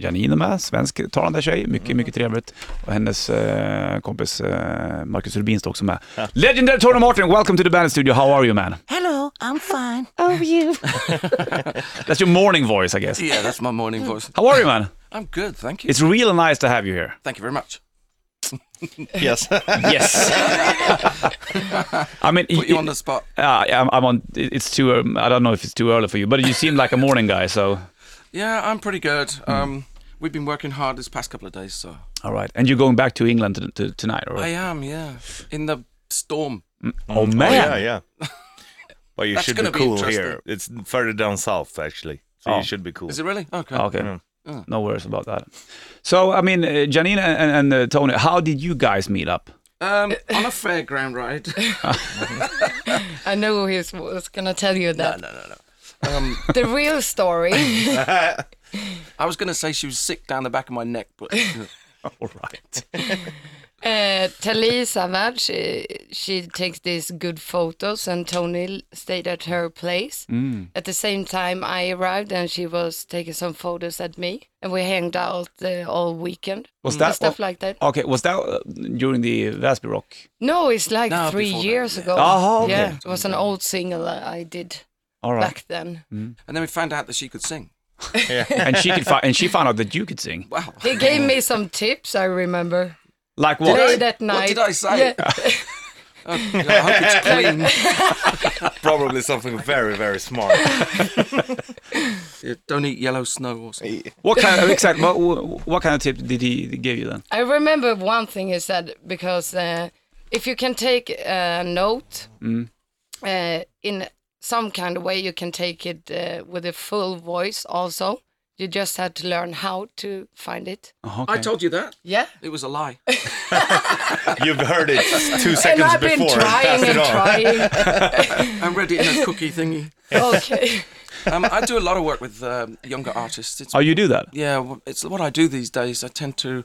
Janine med, svensktalande tjej. Mycket, mycket trevligt. Och hennes eh, kompis eh, Marcus Rubin står också med. Legendary Tony Martin, welcome to the band studio. How are you man? Hello, I'm fine. Oh, you. That's your morning voice I guess. Yeah, that's my morning voice. How are you man? I'm good, thank you. It's really nice to have you here. Thank you very much. Yes. Yes. I mean, Put you on the spot. uh, I'm, I'm on. It's too. Um, I don't know if it's too early for you, but you seem like a morning guy. So, Yeah, I'm pretty good. Hmm. Um, we've been working hard this past couple of days, so all right. And you're going back to England to, to, tonight, or? I am, yeah, in the storm. oh Oh, man. yeah, yeah. Well, you That's should be gonna be cool interesting. here. It's further down south, actually. So Oh. you should be cool. Is it really? Okay. Okay. Mm. Yeah. No worries about that. So, I mean, uh, Janine and, and uh, Tony, how did you guys meet up? Um, on a fairground ride. I know he was, was going to tell you no, no, that. no, no. Um, The real story. I was going to say she was sick down the back of my neck, but All right. Uh, Tali Savage, she, she takes these good photos, and Tony stayed at her place. Mm. At the same time, I arrived, and she was taking some photos at me, and we hanged out uh, all weekend. Was and that stuff what- like that? Okay. Was that uh, during the Väsby Rock? No, it's like No, three before that, years yeah. ago. Oh, okay. Yeah, it was an old single I did All right. Mm. back then. and then we found out that she could sing. and she could. Fi- and she found out that you could sing. Wow. He gave me some tips, I remember. Like what? Play that night. What did I say? Oh, God, I hope it's clean. Probably something very, very smart. Yeah, Don't eat yellow snow or something. What kind of exact? What, what kind of tip did he give you then? I remember one thing he said because uh, if you can take a note Mm. uh, in some kind of way, you can take it uh, with a full voice also. You just had to learn how to find it. Oh, I told you that. Yeah. It was a lie. You've heard it two seconds And I've been before. trying passed it and on. trying. I read it in a cookie thingy. okay. Um, I do a lot of work with um, younger artists. It's Oh, you do that? yeah, w- it's what I do these days. I tend to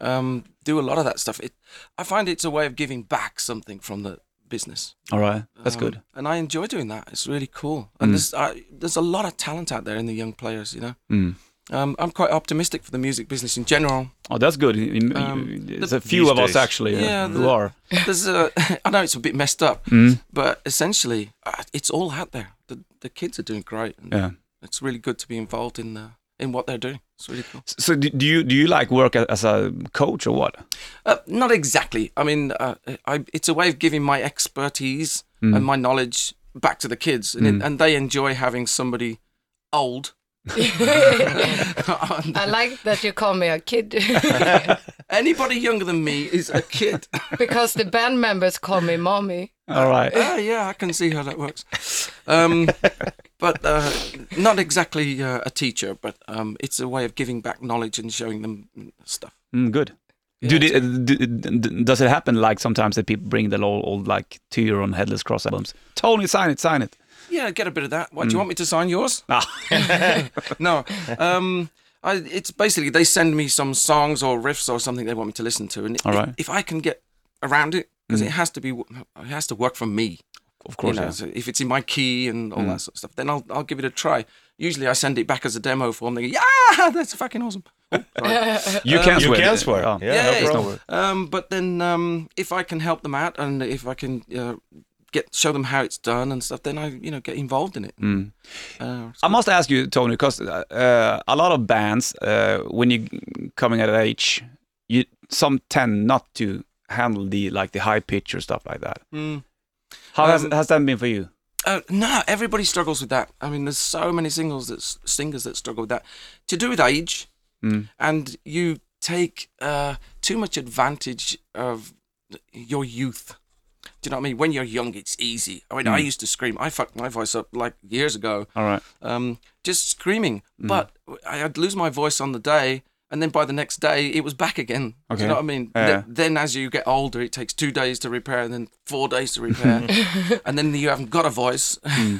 um, do a lot of that stuff. It, I find it's a way of giving back something from the business. All right. That's Um, good. and I enjoy doing that. It's really cool. And there's I, there's a lot of talent out there in the young players. You know, Mm. um, I'm quite optimistic for the music business in general. Oh, that's good. You- you- Um, There's the- a few These of us days. actually uh, Yeah, who the- are. There's a, I know it's a bit messed up, Mm. but essentially uh, it's all out there. The the kids are doing great. And Yeah. It's really good to be involved in the, in what they're doing. It's really cool. S- So do, do you do you like work a- as a coach or what? Uh, not exactly. I mean, uh, I, it's a way of giving my expertise and my knowledge back to the kids, and, it, and they enjoy having somebody old. I like that you call me a kid Anybody younger than me is a kid. because the band members call me mommy. All right. Ah, yeah, I can see how that works. Um, but uh, not exactly uh, a teacher, but um, it's a way of giving back knowledge and showing them stuff. Mm, good. Do, the, do, d- does it happen like sometimes that people bring their old, old like to your own headless cross albums? Tony, sign it, sign it. Yeah, get a bit of that. What do you want me to sign yours? Ah. no. Um, I, it's basically they send me some songs or riffs or something they want me to listen to, and All if, right. if I can get around it, because it has to be, it has to work for me. Mm. Of You course. Mm. know, so if it's in my key and all that sort of stuff, then I'll I'll give it a try. Usually, I send it back as a demo form. They go, yeah, that's fucking awesome. Oh, sorry. yeah. You can You swear. can swear. Oh. Yeah, no Yay. problem. Um, but then um, if I can help them out and if I can uh, get show them how it's done and stuff, then I you know get involved in it. Mm. Uh, I must ask you, Tony, because uh, a lot of bands, uh, when you're coming at an age, you some tend not to handle the like the high pitch or stuff like that. Mm. How has, Um, has that been for you? Uh, no, everybody struggles with that. I mean, there's so many singles that s- singers that struggle with that, to do with age, Mm. and you take uh, too much advantage of your youth. Do you know what I mean? When you're young, it's easy. I mean, I used to scream. I fucked my voice up like years ago, All right. um, just screaming. Mm. But I- I'd lose my voice on the day, and then by the next day, it was back again. Do Okay. you know what I mean? Yeah. Th- then as you get older, it takes two days to repair, and then four days to repair, and then you haven't got a voice. Mm.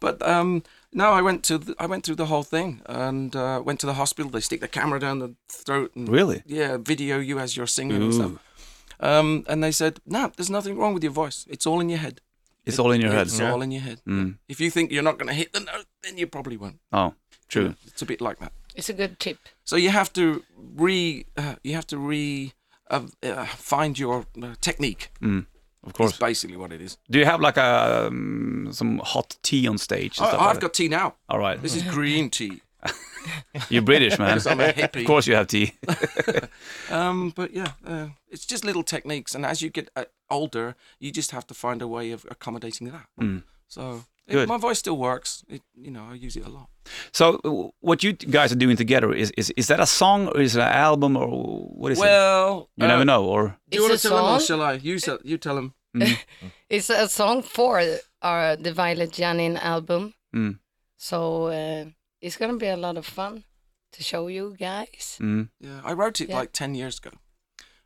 but um, no, I went to th- I went through the whole thing and uh, went to the hospital. They stick the camera down the throat and Really? yeah, video you as you're singing Ooh. and stuff. Um, and they said, no, there's nothing wrong with your voice. It's all in your head. It's all in your head. It's all in your head. Mm. If you think you're not going to hit the note, then you probably won't. Oh, true. It's a bit like that. It's a good tip. So you have to re uh, you have to re uh, uh, find your uh, technique. Of It's course. basically what it is. Do you have like a um, some hot tea on stage? and I, stuff I've like got tea now. that? All right. This is green tea. You're British, man. I'm a hippie. of course, you have tea. Um, but yeah, uh, it's just little techniques, and as you get uh, older, you just have to find a way of accommodating that. So Hmm. Good. it, my voice still works. It, you know, I use it a lot. So, w- what you t- guys are doing together is is, is that a song or is it an album or what is it? Well, uh, You never know. Or Do you want It's to a tell him or song. shall I? You, tell- you tell him. It's a song for our the Violet Janin album. Mm. So uh, it's gonna be a lot of fun to show you guys. mm. Yeah, I wrote it Yeah. like ten years ago,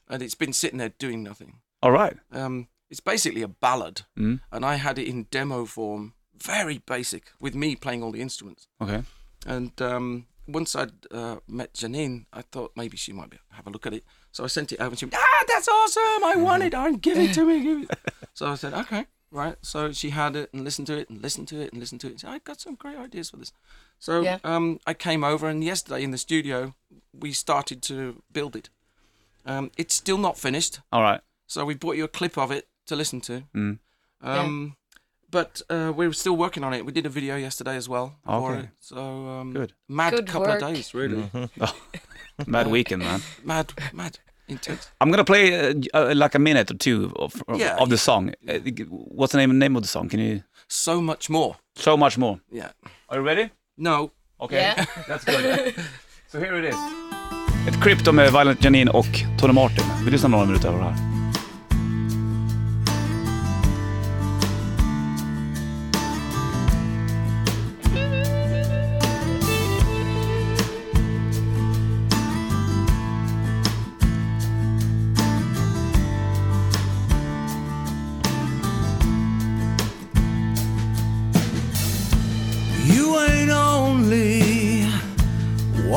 and it's been sitting there doing nothing. all right. Um, it's basically a ballad, Mm. and I had it in demo form, very basic, with me playing all the instruments. Okay. And um, once I'd uh, met Janine, I thought maybe she might be, have a look at it. So I sent it over and she went, Ah, that's awesome. I want it. I'm give it to me. Give it. so I said, Okay, right. So she had it and listened to it and listened to it and listened to it. She said, I've got some great ideas for this. So Yeah. um, I came over and yesterday in the studio, we started to build it. Um, it's still not finished. All right. So we brought you a clip of it to listen to. Mm. Um, But uh, we're still working on it. We did a video yesterday as well. for Okay. it. So um, Good. Mad Good couple work. of days, really. Mad weekend, man. Mad, mad, intense. I'm gonna play uh, j- uh, like a minute or two of, of, Yeah, of the yeah. song. Uh, g- What's the name name of the song? Can you? So much more. So much more. Yeah. Are you ready? No. Okay. Yeah. That's good. so here it is. Ett klipp då med Violent Janine och Tony Martin. Vi lyssnar några minuter över det här. You ain't only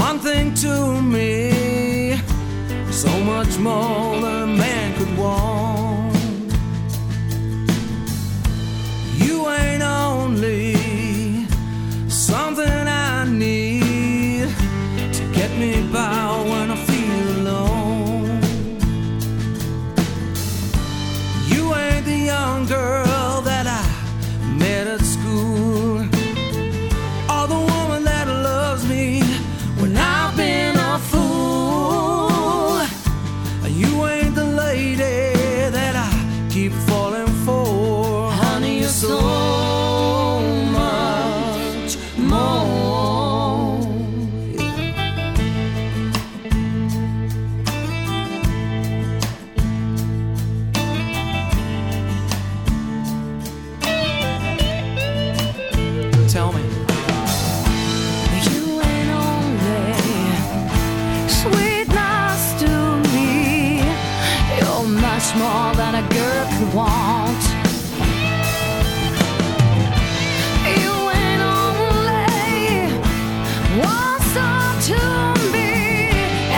one thing to me, so much more than a man could want. You ain't only something I need to get me by when I feel alone. You ain't the young girl that I met at school or the woman that loves me when I've been a fool. You ain't the lady that I keep falling for. Honey, you're so much more. Tell me. You ain't only sweetness to me. You're much more than a girl could want. You ain't only one star to me.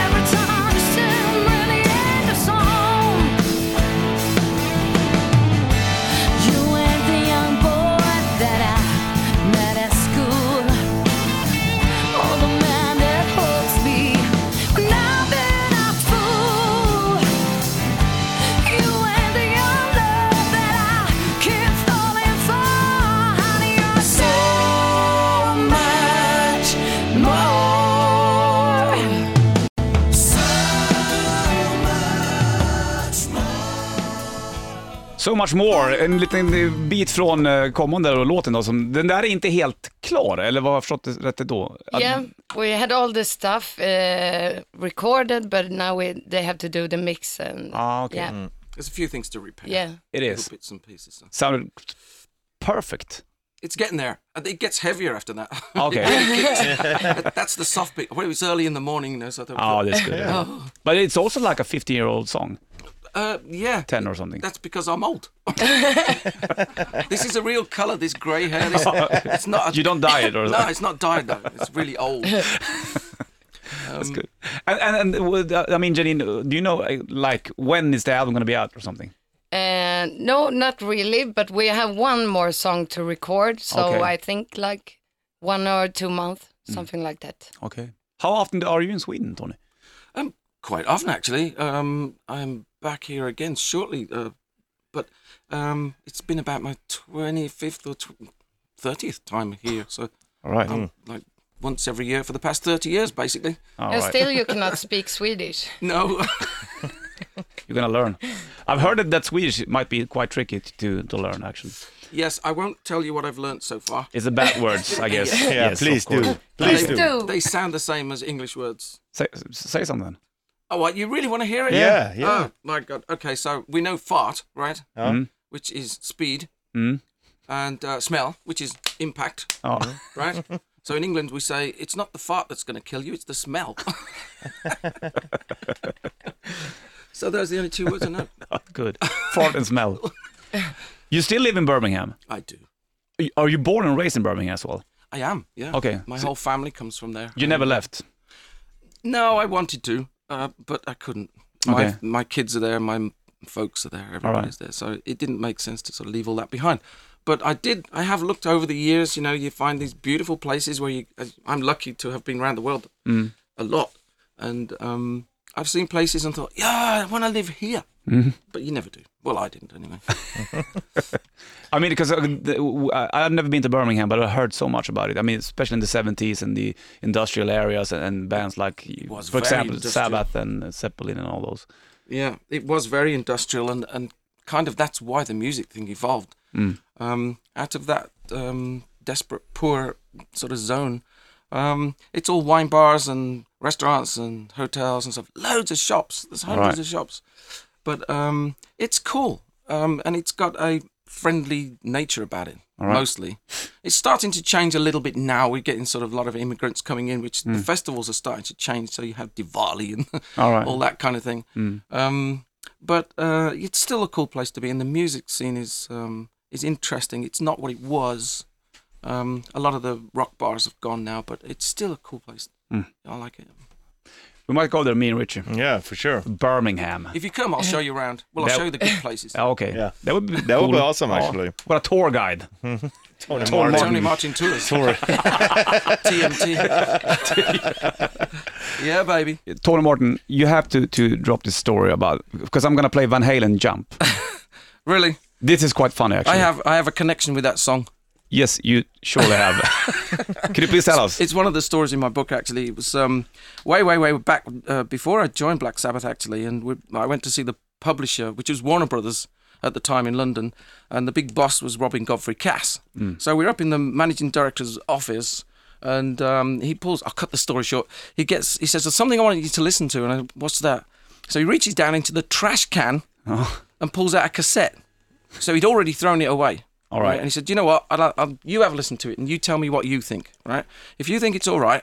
Every time you sing at the end of song, you ain't the young boy that I met at school. Oh, the man that holds me when I've been a fool. You ain't the only that I keep falling for. Honey, you're so much more. So much more. En liten eh, bit från eh, kommande och låten då. Som, den där är inte helt klar, eller vad har jag förstått det rätt då? Att- Yeah, we had all the stuff uh, recorded, but now we they have to do the mix and Ah, okay. yeah, There's a few things to repair. yeah. It is. bits and pieces. Sounded perfect. It's getting there. And It gets heavier after that. Okay. That's the soft bit. Well, it was early in the morning, you know, so I thought. Ah, that's good. But it's also like a 15 year old song, Uh, yeah. 10 or something. That's because I'm old. this is a real colour. This grey hair. This, it's not. A, Oh. You don't dye it or no, it's not dyed though. It's really old. That's good. And, and, and with, uh, I mean, Janine, uh, do you know, uh, like, when is the album going to be out or something? Uh, no, not really, but we have one more song to record, so Okay. I think like one or two months, something like that. Okay. How often are you in Sweden, Tony? Um, quite often actually. Um, I'm back here again shortly, uh, but um, it's been about my twenty fifth or thirtieth time here. So All right. I'm like once every year for the past thirty years, basically. All And right. still, you cannot speak Swedish. No, You're gonna learn. I've heard that, that Swedish might be quite tricky to, to learn. Actually, yes, I won't tell you what I've learnt so far. it's the bad words, I guess. Yeah, Yes, of please do. course. Please they, do. do. They sound the same as English words. Say, say something. Oh, what, you really want to hear it? Yeah, yeah. Oh my god. Okay, so we know fart, right? Huh? Hmm. Which is speed, Mm. and uh, smell, which is impact, Mm-hmm. Oh, right? so in England we say it's not the fart that's going to kill you, it's the smell. so those are the only two words I know. good. Fart and smell. You still live in Birmingham. I do. Are you born and raised in Birmingham as well? I am. Yeah. Okay, My so- whole family comes from there. You never left. No, I wanted to, uh, but I couldn't. Okay. My my kids are there, my m- folks are there, everybody's there, so it didn't make sense to sort of leave all that behind. But I did. I have looked over the years. You know, you find these beautiful places where you. as- I'm lucky to have been around the world Mm. a lot, and um, I've seen places and thought, yeah, I want to live here. Mm-hmm. But you never do. Well, I didn't anyway. I mean, uh, because I've never been to Birmingham, but I heard so much about it. I mean, especially in the 70s and the industrial areas and, and bands like, was for very example, industrial. Sabbath and uh, Zeppelin and all those. Yeah, it was very industrial, and, and kind of that's why the music thing evolved. Hmm. Um, out of that um, desperate, poor sort of zone, um, it's all wine bars and restaurants and hotels and stuff. Loads of shops. There's hundreds Right. of shops, but um, it's cool, um, and it's got a friendly nature about it. right. Mostly, it's starting to change a little bit now. We're getting sort of a lot of immigrants coming in, which Hmm. the festivals are starting to change. So you have Diwali and All right. Hmm. all that kind of thing. Um, but uh, it's still a cool place to be, and the music scene is um, is interesting. It's not what it was. Um, a lot of the rock bars have gone now, but it's still a cool place. Hmm. I like it. We might go there, me and Richard. Yeah, for sure. Birmingham. If you come, I'll show you around. Well, I'll That- show you the good places. Ah, okay. Yeah. That would be That would be cool. awesome, Ja. actually. What a tour guide. Tony Tony Martin. Martin, Tours, Sorry. TMT. yeah, baby. Tony Martin, you have to, to drop this story about, because I'm going to play Van Halen Jump. Really, this is quite funny, actually. I have I have a connection with that song. Yes, you surely have. Can you please tell us? It's one of the stories in my book, actually. It was um, way, way, way back uh, before I joined Black Sabbath, actually. And we, I went to see the publisher, which was Warner Brothers at the time in London. And the big boss was Robin Godfrey Cass. So we were up in the managing director's office. And um, he pulls, I'll cut the story short. He gets, he says, There's something I want you to listen to. And I, what's that? So he reaches down into the trash can and pulls out a cassette. So he'd already thrown it away. All right. And he said, "You know what? I'll, I'll, you have a listen to it, and you tell me what you think. Right? If you think it's all right,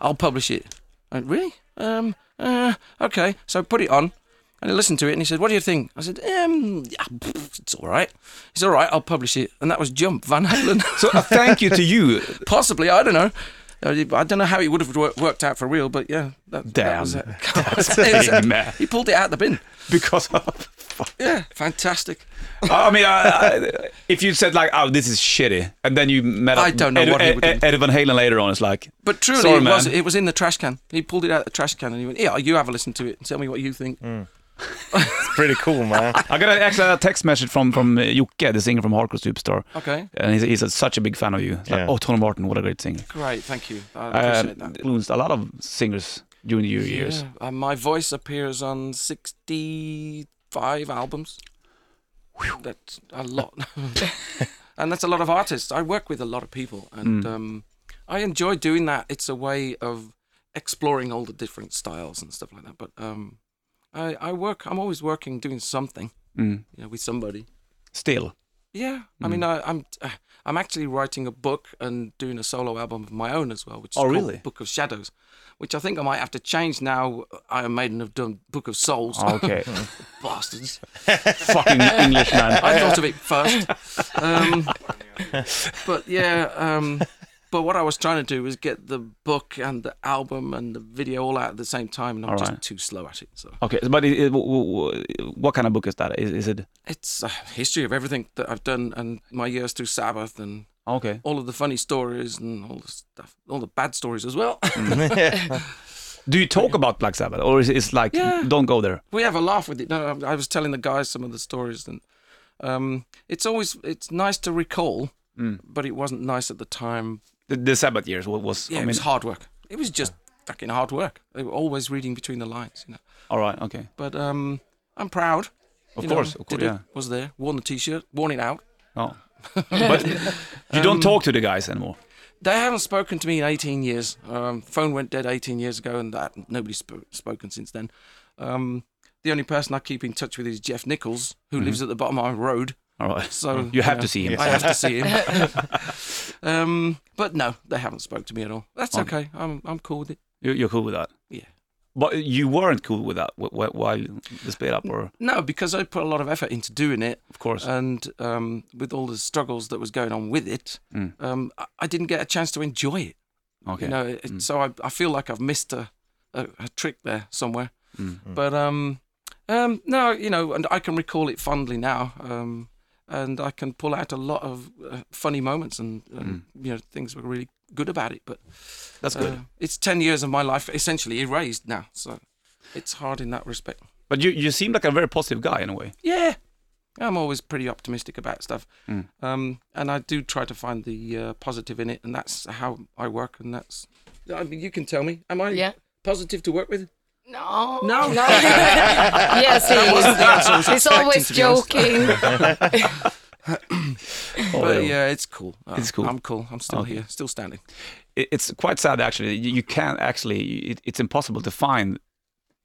I'll publish it." I went, really? Um. Uh. Okay. So I put it on, and I listened to it, and he said, "What do you think?" I said, "Um. Yeah, pff, it's all right. It's all right. I'll publish it." And that was Jump Van Halen. so a thank you to you. Possibly, I don't know. Uh, I don't know how it would have wor- worked out for real, but yeah, that, that was it. Damn. It was- Big man. he pulled it out the bin. because of. Yeah, fantastic. I mean, I, I, if you said like, "Oh, this is shitty," and then you met up, I don't know Ed, what he would Ed, do. Ed Van Halen later on, it's like, But truly, Sorry, it was man. it was in the trash can. He pulled it out of the trash can and he went, "Yeah, you have a listen to it and tell me what you think." Mm. It's pretty cool, man. I got a, actually a text message from from uh, Jocke, the singer from Hardcore Superstar, Okay, and he's, he's a, such a big fan of you. It's like, Yeah. oh, Tony Martin, what a great singer! great, thank you. I Uh, appreciate that. influenced a lot of singers during your years. Yeah, and my voice appears on sixty-five albums. That's a lot, and that's a lot of artists. I work with a lot of people, Mm. and um, I enjoy doing that. It's a way of exploring all the different styles and stuff like that. But um, I, I work. I'm always working, doing something, Mm. you know, with somebody. Still, Yeah, I Hmm. mean, I, I'm uh, I'm actually writing a book and doing a solo album of my own as well, which is Oh, called really? Book of Shadows, which I think I might have to change now. Iron Maiden have done Book of Souls, Oh, okay, bastards. fucking Englishman. I thought of it first, um, but yeah. Um, but what I was trying to do was get the book and the album and the video all out at the same time, and I'm All just right. too slow at it. So Okay, but it, it, w- w- w- what kind of book is that? Is, is it it's a history of everything that I've done and my years through Sabbath and Okay. all of the funny stories and all the stuff, all the bad stories as well. Do you talk about Black Sabbath, or is it like Yeah. don't go there? we have a laugh with it. No, I I was telling the guys some of the stories, and um, it's always it's nice to recall, but it wasn't nice at the time. The, the Sabbath years wa- was. I Yeah, it mean, was hard work. It was just fucking hard work. They were always reading between the lines, you know. all right. Okay. But um, I'm proud. Of you know, course. Of course. did it, Yeah. was there, worn the t-shirt, worn it out. Oh. but you Um, don't talk to the guys anymore. They haven't spoken to me in 18 years. Um, phone went dead 18 years ago, and that nobody's sp- spoken since then. Um, the only person I keep in touch with is Jeff Nichols, who lives at the bottom of my road. All right. So Mm-hmm. You have yeah, to see him. I have to see him. um, but no, they haven't spoke to me at all. That's okay. I'm I'm cool with it. You- You're cool with that. Yeah. But you weren't cool with that wh- wh- while the split up, or No, because I put a lot of effort into doing it, of course. and um, with all the struggles that was going on with it, Mm. um, I, I didn't get a chance to enjoy it. okay. Mm. You know, it, so I, I feel like I've missed a, a, a trick there somewhere. Mm. But um, um, no, you know, and I can recall it fondly now, um, and I can pull out a lot of uh, funny moments and um, you know things were really good about it. But That's good. uh, it's ten years of my life essentially erased now, so it's hard in that respect. but you you seem like a very positive guy in a way. Yeah. I'm always pretty optimistic about stuff, Mm. um, and I do try to find the uh, positive in it, and that's how I work. And that's, I mean, you can tell me, am I Yeah. positive to work with? No. No. no. yes, he is. He's always to be honest. joking. But Oh, yeah, it's cool. Uh, It's cool. I'm cool. I'm still Okay. here, still standing. It- It's quite sad actually. You you can't actually. It, it's impossible to find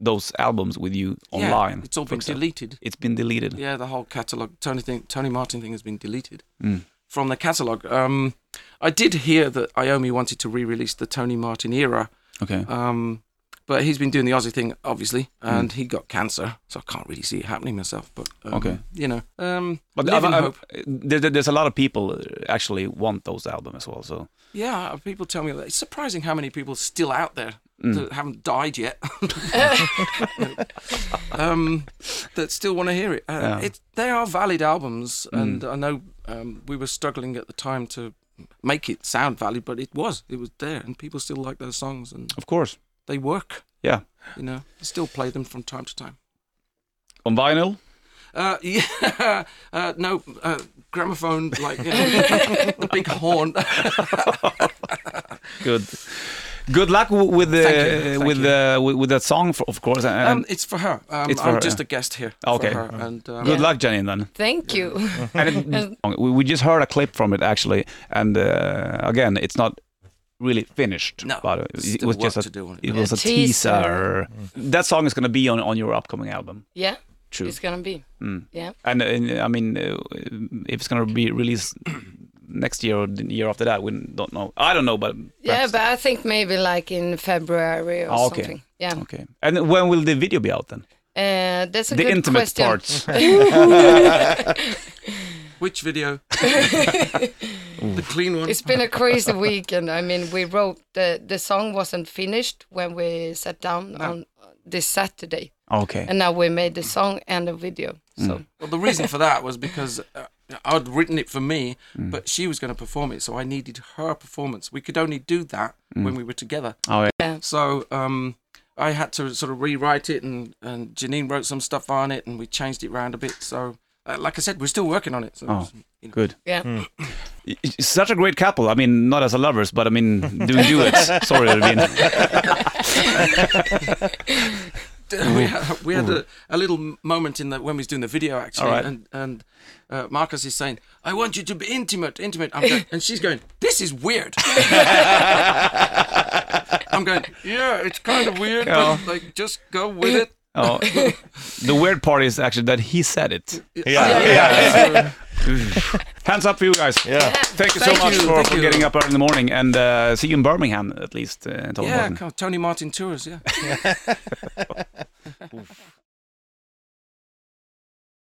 those albums with you Yeah, online. it's all for been example. deleted. It's been deleted. Yeah, the whole catalog, Tony thing, Tony Martin thing has been deleted Mm. from the catalog. Um, I did hear that Iomi wanted to re-release the Tony Martin era, Okay. um, but he's been doing the Aussie thing, obviously, Mm. and he got cancer, so I can't really see it happening myself. But um, Okay. you know, um, But live I've- in I've- hope. there- there- there's a lot of people uh, actually want those albums as well. So Yeah, people tell me that it's surprising how many people still out there mm. that haven't died yet, um, that still want to hear it. Uh, Yeah. Mm. it. They are valid albums, and I know um, we were struggling at the time to make it sound valid, but it was. It was there, and people still like those songs, and of course, they work. yeah. You know, still play them from time to time. On vinyl, Uh, yeah, uh, no, uh, gramophone, like you know, the big horn. good. Good luck w- with the Thank you, thank with you. the with, with that song, for, of course. And, Um, it's for her. Um, It's for I'm her, just yeah. a guest here. Okay. For her. And, um, good Yeah. luck, Janine. Then. Thank you. And it, we we just heard a clip from it actually, and uh, again, it's not really finished. No, but it- it still was just work a, to do on it. Mm. it was a teaser. Teaser. That song is going to be on, on your upcoming album. Yeah, True. it's gonna be. Mm. Yeah. And, and I mean, uh, if it's going to be released next year or the year after that, we don't know. I don't know, but Yeah, perhaps- but I think maybe like in February or Ah, okay. something. Yeah. okay. And when will the video be out then? Uh, that's a the good intimate question. parts. Which video? the clean one. It's been a crazy weekend. I mean, we wrote the the song wasn't finished when we sat down on this Saturday, okay. and now we made the song and the video. Mm. So Well, the reason for that was because uh, I'd written it for me, Mm. but she was going to perform it, so I needed her performance. We could only do that when we were together. Mm. Oh, yeah. So um, I had to sort of rewrite it, and, and Janine wrote some stuff on it, and we changed it round a bit. So, uh, like I said, we're still working on it. So Oh, you know. Good. yeah, It's Such a great couple. I mean, not as a lovers, but I mean, doing duets. Sorry, Irvine. we had, we had a, a little moment in the when we was doing the video actually, All right. and and uh, Marcus is saying, "I want you to be intimate, intimate," I'm going, and she's going, "This is weird." I'm going, "Yeah, it's kind of weird, Yeah. but like just go with it." Oh, the weird part is actually that he said it. Yeah. yeah. Hands up for you guys. Yeah. Thank you so Thank much you, for, thank for you. getting up early in the morning and uh, see you in Birmingham at least. Uh, in So, Tottenham yeah, Hotspur. come on, Tony Martin tours, yeah.